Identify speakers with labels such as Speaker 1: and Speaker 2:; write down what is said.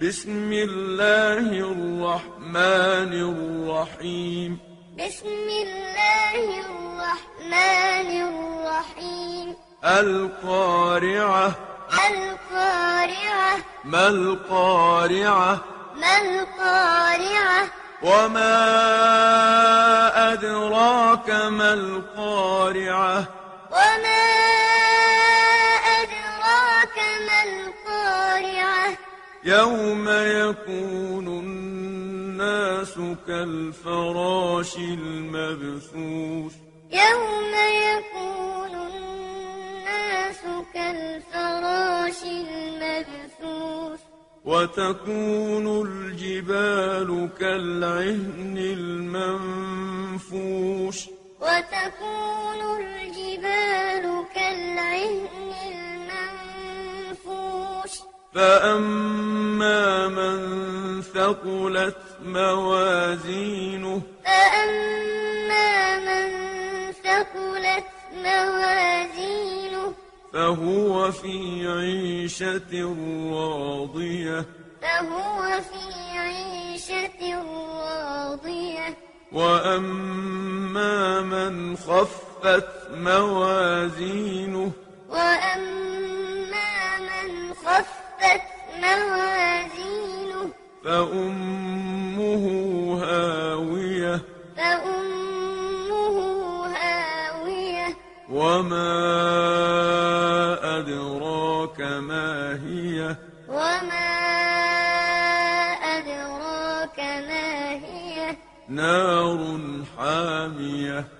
Speaker 1: بسم الله الرحمن الرحيم
Speaker 2: بسم الله الرحمن الرحيم
Speaker 1: القارعة
Speaker 2: القارعة
Speaker 1: ما القارعة
Speaker 2: ما القارعة
Speaker 1: وما أدراك ما القارعة
Speaker 2: وما أدراك ما القارعة
Speaker 1: يوم يكون الناس كالفراش المبثوث
Speaker 2: يوم يكون الناس كالفراش المبثوث
Speaker 1: وتكون الجبال كالعهن المنفوش
Speaker 2: وتكون الجبال كالعهن المنفوش
Speaker 1: فأما من ثقلت موازينه
Speaker 2: فأما من ثقلت موازينه
Speaker 1: فهو في عيشة راضية
Speaker 2: فهو في عيشة راضية
Speaker 1: وأما من خفت موازينه
Speaker 2: وأما من خفت موازينه
Speaker 1: فأمه هاوية
Speaker 2: فأمه هاوية
Speaker 1: وما أدراك ما هي
Speaker 2: وما أدراك ما هي
Speaker 1: نار حامية